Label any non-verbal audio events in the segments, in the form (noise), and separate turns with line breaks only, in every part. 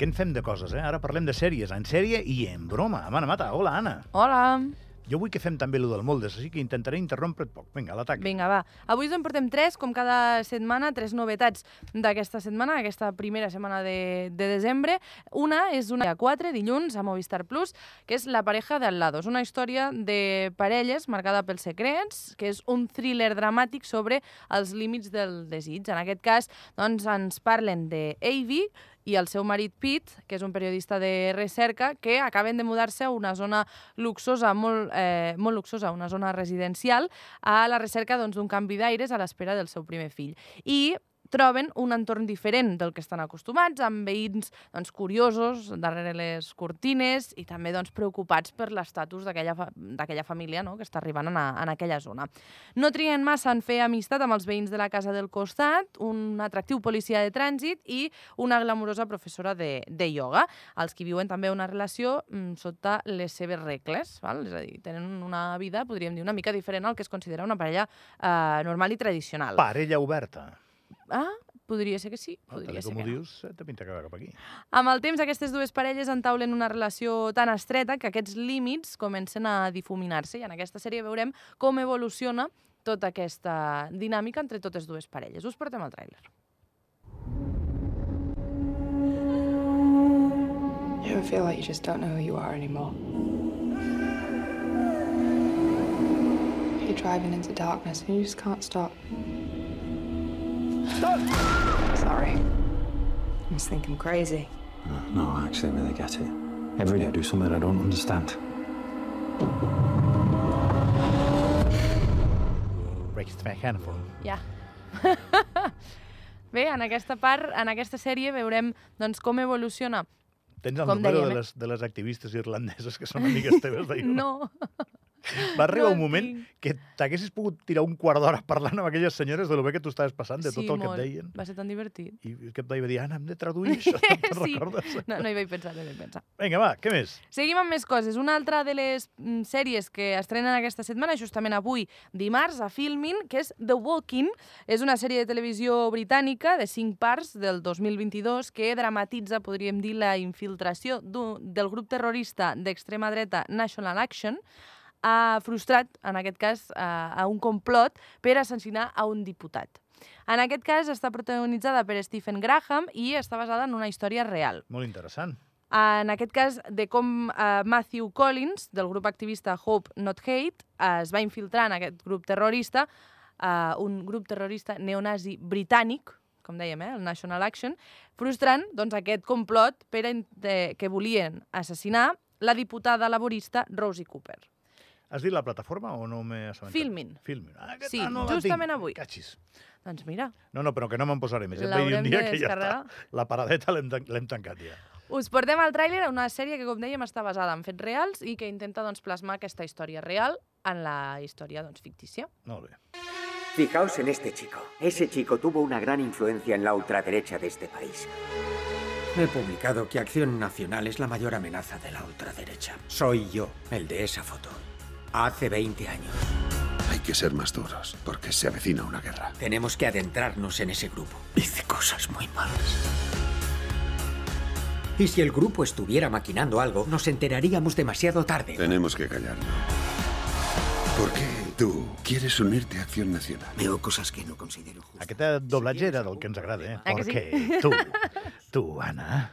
Què en fem de coses, eh? Ara parlem de sèries, en sèrie i en broma. Amb Anna Mata, hola, Anna.
Hola!
Jo vull que fem també lo del Moldes, així que intentaré interrompre't poc. Vinga, a l'atac.
Vinga, va. Avui us en portem tres, com cada setmana, tres novetats d'aquesta setmana, aquesta primera setmana de, de desembre. Una és una a 4, dilluns, a Movistar Plus, que és La pareja del lado. És una història de parelles marcada pels secrets, que és un thriller dramàtic sobre els límits del desig. En aquest cas, doncs, ens parlen de Avi, i el seu marit Pete, que és un periodista de recerca, que acaben de mudar-se a una zona luxosa, molt, eh, molt luxosa, una zona residencial, a la recerca d'un doncs, canvi d'aires a l'espera del seu primer fill. I troben un entorn diferent del que estan acostumats, amb veïns doncs, curiosos darrere les cortines i també doncs, preocupats per l'estatus d'aquella fa família no? que està arribant en, a, en aquella zona. No trien massa en fer amistat amb els veïns de la casa del costat, un atractiu policia de trànsit i una glamurosa professora de, de ioga, els qui viuen també una relació mm, sota les seves regles, val? és a dir, tenen una vida, podríem dir, una mica diferent al que es considera una parella eh, normal i tradicional.
Parella oberta.
Ah, podria ser que sí, podria
Tal
ser
com
que
ho
no.
dius, eh, te pinta que va cap aquí.
Amb el temps, aquestes dues parelles entaulen una relació tan estreta que aquests límits comencen a difuminar-se i en aquesta sèrie veurem com evoluciona tota aquesta dinàmica entre totes dues parelles. Us portem el tràiler.
You ever feel like you just don't know who you are anymore? You're driving into darkness and you just can't stop. Stop! Sorry. I just think I'm crazy.
No, actually, I really get it. Every day I do something I don't understand.
Breakfast Hanford.
Ja. (laughs) Bé, en aquesta part, en aquesta sèrie, veurem doncs, com evoluciona.
Tens el
Com
número
dèiem,
de
eh?
les, de les activistes irlandeses que són amigues teves d'ahir.
(laughs) No,
Va arribar un
no en
moment
tinc.
que t'haguessis pogut tirar un quart d'hora parlant amb aquelles senyores de lo bé que tu estaves passant, de
sí,
tot el
molt.
que et deien.
Va ser tan divertit.
I que et va dir, Anna, hem de
(laughs)
traduir això, (laughs) te'n
Sí.
recordes?
No, no hi vaig pensar, no hi vaig pensar.
Vinga, va, què més?
Seguim amb més coses. Una altra de les mm, sèries que estrenen aquesta setmana, justament avui, dimarts, a Filmin, que és The Walking. És una sèrie de televisió britànica de cinc parts del 2022 que dramatitza, podríem dir, la infiltració d'un- del grup terrorista d'extrema dreta National Action ha frustrat, en aquest cas, a, a un complot per assassinar a un diputat. En aquest cas està protagonitzada per Stephen Graham i està basada en una història real.
Molt interessant.
En aquest cas, de com eh, Matthew Collins, del grup activista Hope Not Hate, eh, es va infiltrar en aquest grup terrorista, eh, un grup terrorista neonazi britànic, com dèiem, eh, el National Action, frustrant doncs, aquest complot per a, de, que volien assassinar la diputada laborista Rosie Cooper.
Has dit la plataforma o no m'he assabentat?
Filmin.
Filmin. Ah, que,
Sí,
ah, no la tinc.
justament avui.
Catxis.
Doncs mira,
No, no, però que no me'n posaré més. Ja et vaig dir un
l'haurem de
dia que ja està.
descarregar.
La paradeta l'hem tan- l'hem tancat ja.
Us portem al tràiler a una sèrie que, com dèiem, està basada en fets reals i que intenta doncs, plasmar aquesta història real en la història doncs, fictícia.
Molt bé.
Fijaos en este chico. Ese chico tuvo una gran influencia en la ultraderecha de este país.
He publicado que Acción Nacional es la mayor amenaza de la ultraderecha. Soy yo, el de esa foto. Hace 20 años.
Hay que ser más duros, porque se avecina una guerra.
Tenemos que adentrarnos en ese grupo. Hice cosas muy malas. Y si el grupo estuviera maquinando algo, nos enteraríamos demasiado tarde.
Tenemos que callarlo. ¿Por qué tú quieres unirte a Acción Nacional?
Veo cosas que no considero justas.
Aquest doblatge era del que ens agrada, eh?
Ah, que sí?
Perquè tu, tu, Anna,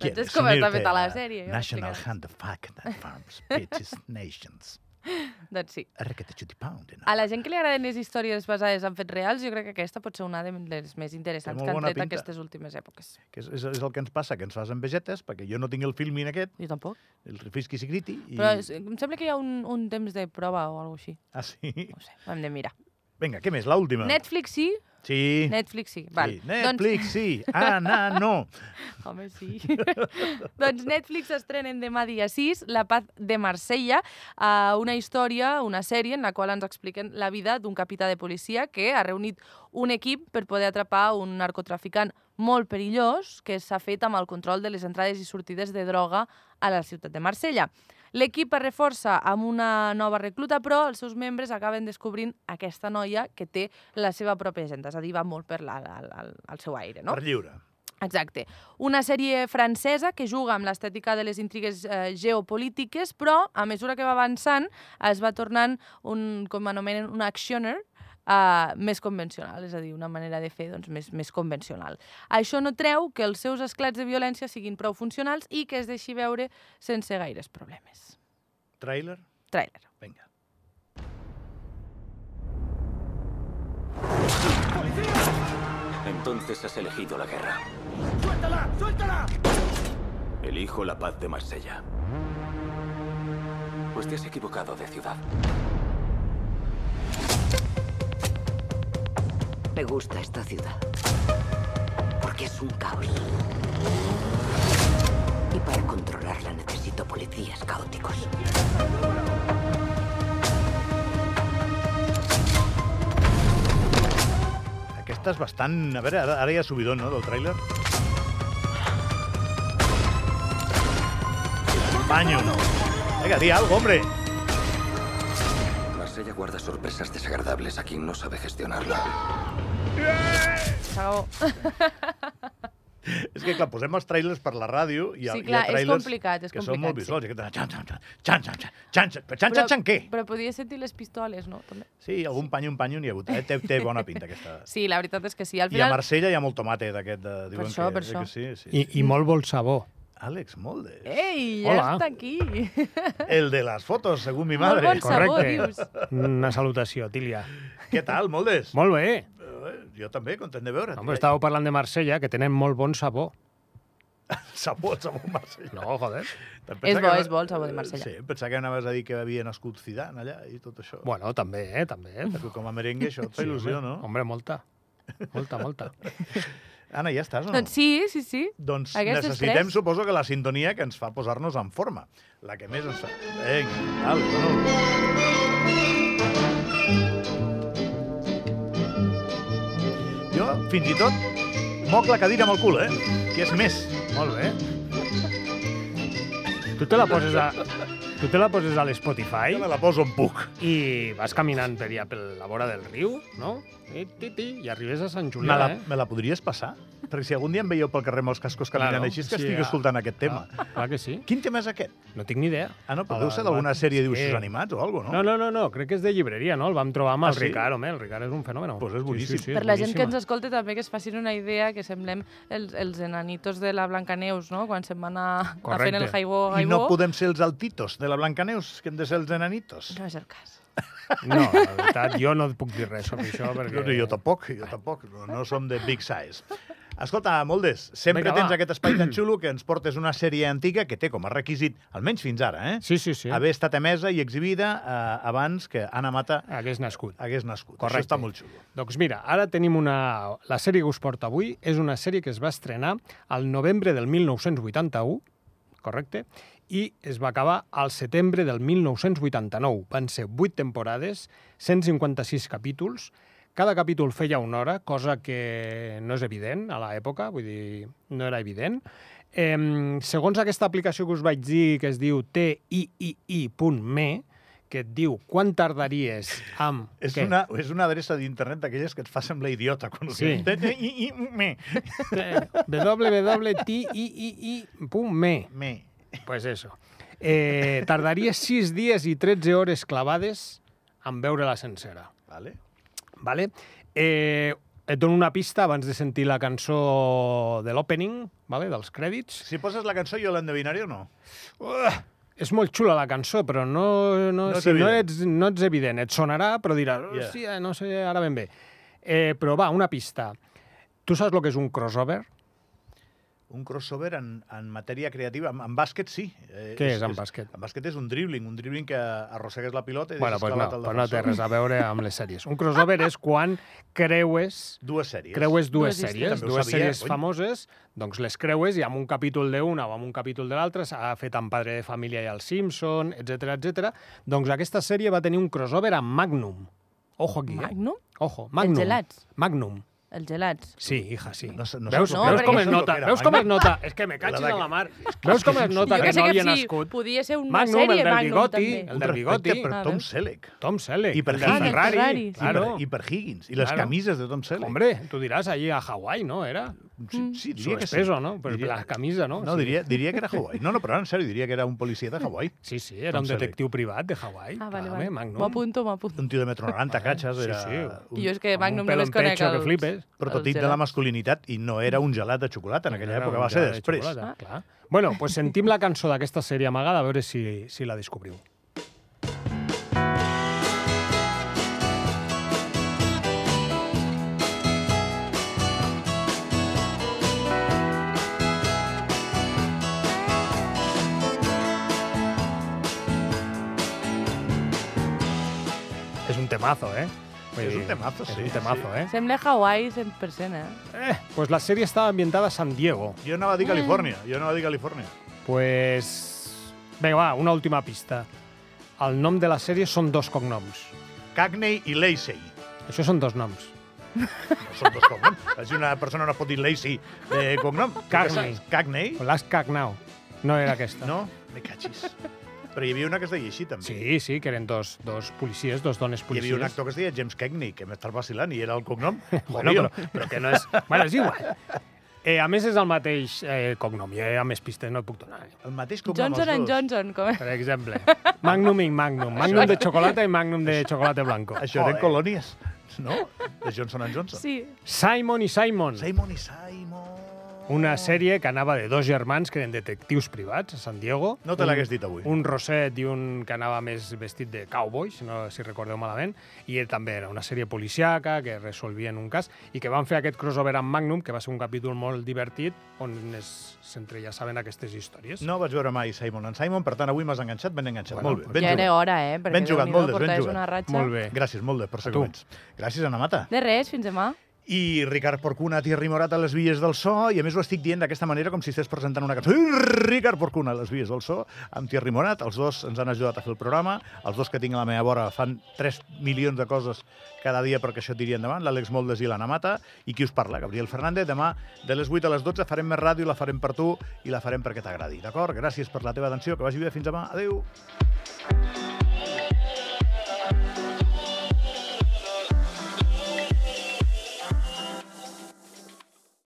Doncs és
quieres
com està
unirte
feta la sèrie, jo
National
vaig
Hunt of Fuck that Farms Bitches Nations.
Doncs sí.
Requete xuti pound.
A la gent que li agraden les històries basades en fets reals, jo crec que aquesta pot ser una de les més interessants
molt
que han
bona
tret
pinta.
aquestes últimes èpoques.
Que és, és, és, el que ens passa, que ens fas amb vegetes, perquè jo no tinc el filmin aquest,
Jo tampoc.
el Rifisky Sigriti. I...
I... Però és, em sembla que hi ha un, un temps de prova o alguna així.
Ah, sí?
No ho sé, ho hem de mirar.
Vinga, què més? L'última.
Netflix sí?
Sí.
Netflix sí. Val.
Sí. Netflix, sí.
(laughs)
Anna, no.
Doncs, (laughs) home, sí. doncs Netflix estrenen demà dia 6, La paz de Marsella, eh, una història, una sèrie en la qual ens expliquen la vida d'un capità de policia que ha reunit un equip per poder atrapar un narcotraficant molt perillós que s'ha fet amb el control de les entrades i sortides de droga a la ciutat de Marsella. L'equip es reforça amb una nova recluta, però els seus membres acaben descobrint aquesta noia que té la seva pròpia agenda, és a dir, va molt per la, al, al, al seu aire. No?
Per lliure.
Exacte. Una sèrie francesa que juga amb l'estètica de les intrigues eh, geopolítiques, però a mesura que va avançant es va tornant un, com anomenen, un actioner, Uh, més convencional, és a dir, una manera de fer doncs, més, més convencional. Això no treu que els seus esclats de violència siguin prou funcionals i que es deixi veure sense gaires problemes.
Trailer,
Trailer.
vinga.
Entonces has elegido la guerra. ¡Suéltala! ¡Suéltala! Elijo la paz de Marsella. Pues te has equivocado de ciudad.
Me gusta esta ciudad. Porque es un caos. Y para controlarla necesito policías caóticos.
Aquesta és bastant... A veure, ara, ara hi ha subidó, no, del tràiler? Baño. Vinga, di algo, hombre.
Marsella guarda sorpresas desagradables a quien no sabe gestionarla.
Segur.
És que, clar, posem els trailers per la ràdio i hi ha,
Sí, clar,
hi ha
és
trailers
complicat, és
que són molt
complicat, sí.
visuals. Sí. I que tenen xan, xan, xan, xan, xan, xan, xan, xan, però xan, xan, xan, què?
Però podia sentir les pistoles, no? També.
Sí, algun panyo, un panyo n'hi ha hagut. Eh? Té, té bona pinta, aquesta.
Sí, la veritat és que sí. Al
I a
final,
Marsella hi ha molt tomate d'aquest. de- Diuen
això,
que,
per
eh,
això.
Que sí, sí,
I, i molt vol sabó.
Àlex Moldes.
Ei, ja
Hola.
està aquí.
El de las fotos, según mi
Molt
madre.
bon sabor,
Correcte.
dius.
Una salutació, Tília.
Què tal, Moldes?
Molt bé.
Eh, jo també, content de Eh, veure't.
Home, estàveu parlant de Marsella, que tenen molt bon sabó.
Sabó, sabó Marsella.
No, joder.
Te'n
És
pensa
bo,
que-
és bo el sabó de Marsella.
Sí, em pensava que anaves a dir que havia nascut Zidane allà i tot això.
Bueno, també, eh? També.
Perquè com a merengue això et fa il·lusió,
home,
no?
Hombre, molta. Molta,
(laughs)
molta.
Ana, ja estàs, no?
Doncs (laughs) sí, sí, sí.
Doncs
Aquestes
necessitem,
tres.
suposo, que la sintonia que ens fa posar-nos en forma. La que més ens fa. Vinga, dale, bueno. Jo, fins i tot, moc la cadira amb el cul, eh? Que és més.
Molt bé. Tu te la poses a... Tu te la poses a l'Spotify
Jo me la poso on puc.
i vas caminant per allà per la vora del riu, no? I, ti, ti, i arribes a Sant
Me
Julià,
la,
eh?
me la podries passar? Perquè si algun dia em veieu pel carrer amb els cascos caminant
Claro,
claro, així, és que
sí,
sí, estic
ah,
escoltant aquest tema.
Clar, clar que sí.
Quin tema és aquest?
No tinc ni idea.
Ah, no,
Ah,
però deu ser d'alguna
va-
sèrie de
sí.
dibuixos animats o alguna
No,
cosa, no?
no, no, no, crec que és de llibreria, no? El vam trobar amb
Ah,
el
sí?
Ricard, home, el Ricard és un fenomen.
Pues és
Sí,
boníssim.
sí, sí, és
Per la gent que ens
boníssima.
escolta també que es facin una idea que semblem els, els enanitos de la Blancaneus, no? Quan se'n van a, a fent el
Correcte.
jaibó,
I no
jaibó.
podem ser els altitos de la Blancaneus, que hem de ser els enanitos.
No és el cas.
No, la veritat, jo no et puc dir res sobre això, perquè...
(laughs) No, no, jo tampoc, jo tampoc. No, no som de big size. Escolta, Moldes, sempre
Vinga,
Vinga, tens
va.
va. aquest espai tan xulo que ens portes una sèrie antiga que té com a requisit, almenys fins ara, eh?
Sí, sí, sí.
haver estat emesa i exhibida eh, abans que Anna Mata
Hagués nascut.
hagués nascut.
Correcte.
Això està molt xulo.
Doncs mira, ara tenim una... La sèrie que us porta avui és una sèrie que es va estrenar al novembre del 1981, correcte, i es va acabar al setembre del 1989. Van ser vuit temporades, 156 capítols, cada capítol feia una hora, cosa que no és evident a l'època, vull dir, no era evident. Eh, segons aquesta aplicació que us vaig dir, que es diu tiii.me, que et diu quan tardaries amb...
És
què?
una, és una adreça d'internet d'aquelles que et fa semblar idiota. Quan ho
Sí.
dius. I, i, me,
www.tiii.me.
me.
Pues eso. Eh, tardaria 6 dies i 13 hores clavades en veure-la sencera.
Vale?
Vale? Eh, et dono una pista abans de sentir la cançó de l'opening, vale? dels crèdits.
Si poses la cançó, jo l'endevinaré o no?
És molt xula la cançó, però no,
No
no,
és
si no,
evident.
ets, no ets evident. Et sonarà, però diràs,
Ja.
hòstia, no sé ara ben bé. Eh, però va, una pista. Tu saps el que és un crossover?
Un crossover en, en matèria creativa. En, en bàsquet, sí. Eh,
Què és en bàsquet?
En bàsquet és un dribbling, un dribbling que arrossegues la pilota i
Bueno,
deixes
pues no,
clavat el
pues no té
defensor.
res a veure amb les sèries. Un crossover és quan creues
Dues sèries.
creues dues
Dues
sèries,
També ho
dues
sabia,
sèries
cony.
famoses, doncs les creues i amb un capítol d'una o amb un capítol de l'altra s'ha fet amb Padre de Família i el Simpson, etc etc. Doncs aquesta sèrie va tenir un crossover amb Magnum. Ojo aquí, eh?
Magnum?
Ojo, Magnum.
gelats.
Magnum.
Els gelats.
Sí, hija, sí.
No sé- no
veus,
sé-
no,
veus
perquè
com
no
es
sé
nota?
lo que era
Veus com es
Magnum.
nota? És que me
La
cagis
de
a la
que- (laughs)
mar. Veus com es nota
jo
que,
que sé
no
que
havia
sí,
nascut?
podia ser una
Magnum,
sèrie
el del
Magnum,
bigoti,
també.
el
Un
del
respecte
bigoti.
per
A
Tom
veure.
Selleck.
Tom Selleck.
I per
el
Higgins.
del
Ferrari.
Ferrari.
I
Claro.
Claro.
I per Higgins. I les
Claro.
camises de Tom Selleck.
Hombre, tu diràs allí a Hawaii, no? Era?
mm.
Sí, sí, diria que sí.
Sobrepeso, no? Pues
Diria-
la camisa, no?
No,
Sí.
diria, diria que era Hawaii. No, no, però en sèrio, diria que era un policia de Hawaii.
Sí, sí, era
Tom
un
Selleck.
detectiu privat de Hawaii.
Ah, vale,
Claro,
vale.
eh, Magnum.
M'ho apunto, m'ho apunto.
Un tio de metro 90, catxes,
Ah, Sí,
era...
sí.
un
I jo és que
amb
Magnum
un pèl
només
en
conec
pecho que
els-
flipes.
prototip
els
de la
gelats.
masculinitat i no era un gelat de xocolata, en aquella
Era
època
un
va ser
gelada de
després.
xocolata, clar. Bueno, pues sentim la cançó d'aquesta sèrie amagada, a veure si, si la descobriu. És un temazo, eh? Vull
És un
dir,
temazo, sí,
És un temazo, eh?
Sembla Hawaii 100%, eh?
Eh, pues la serie estaba ambientada a San Diego.
Ah.
Jo anava a dir Califòrnia, jo anava a dir Califòrnia.
Pues... Vinga, va, una última pista. El nom de la sèrie són dos cognoms.
Cagney i Lacey.
Això són dos noms.
No són dos
(laughs)
cognoms. Si una persona no es pot dir Lacey de cognom.
Cagney.
Cagney?
L'has cagnau. No era aquesta.
No? Me catxis. Però hi havia una que es deia així, també.
Sí, sí, que eren dos, dos policies, dos dones
Hi
policies.
havia un actor que es deia James Cagney, que m'estàs vacilant, i era el cognom.
(laughs) Bueno,
Jodido.
però, però que no és... Bueno, és igual. Eh, a més, és el mateix eh, cognom. Jo a més pistes no et puc donar. eh.
El mateix cognom
Johnson
els
and
dos.
Johnson, com
Per exemple, Magnum i Magnum. Magnum de xocolata i Magnum de xocolata blanco.
Això eren
Joder.
colònies, no? De Johnson and Johnson.
Sí.
Simon i Simon.
Simon i Simon.
Una sèrie que anava de dos germans que eren detectius privats a San Diego.
No te
Un-
l'hagués dit avui.
Un Roset i un que anava més vestit de cowboy, si, no, si recordeu malament, i ell també era una sèrie policiaca que resolvien un cas i que van fer aquest crossover amb Magnum, que va ser un capítol molt divertit on es- s'entrellaçaven aquestes històries.
No vaig veure mai Simon and Simon, per tant, avui m'has enganxat, ben enganxat.
Bueno,
molt bé, ben
ja
jugat.
era hora, eh? Perquè
Ben jugat,
Déu-n'hi-do,
molt bé, ben
portaves
jugat.
una ratxa.
Molt bé.
Gràcies, molt bé, per ser
tu.
coments. Gràcies, Ana Mata.
De res, fins demà.
I Ricard Porcuna, Thierry Morat a les vies del so, i a més ho estic dient d'aquesta manera com si estigués presentant una cançó. Ui, Ricard Porcuna a les vies del so, amb Thierry Morat, els dos ens han ajudat a fer el programa, els dos que tinc a la meva vora fan 3 milions de coses cada dia perquè això tiri endavant, l'Àlex Moldes i l'Anna Mata, i qui us parla, Gabriel Fernández, demà de les 8 a les 12 farem més ràdio, la farem per tu i la farem perquè t'agradi, d'acord? Gràcies per la teva atenció, que vagi bé, fins demà, adeu!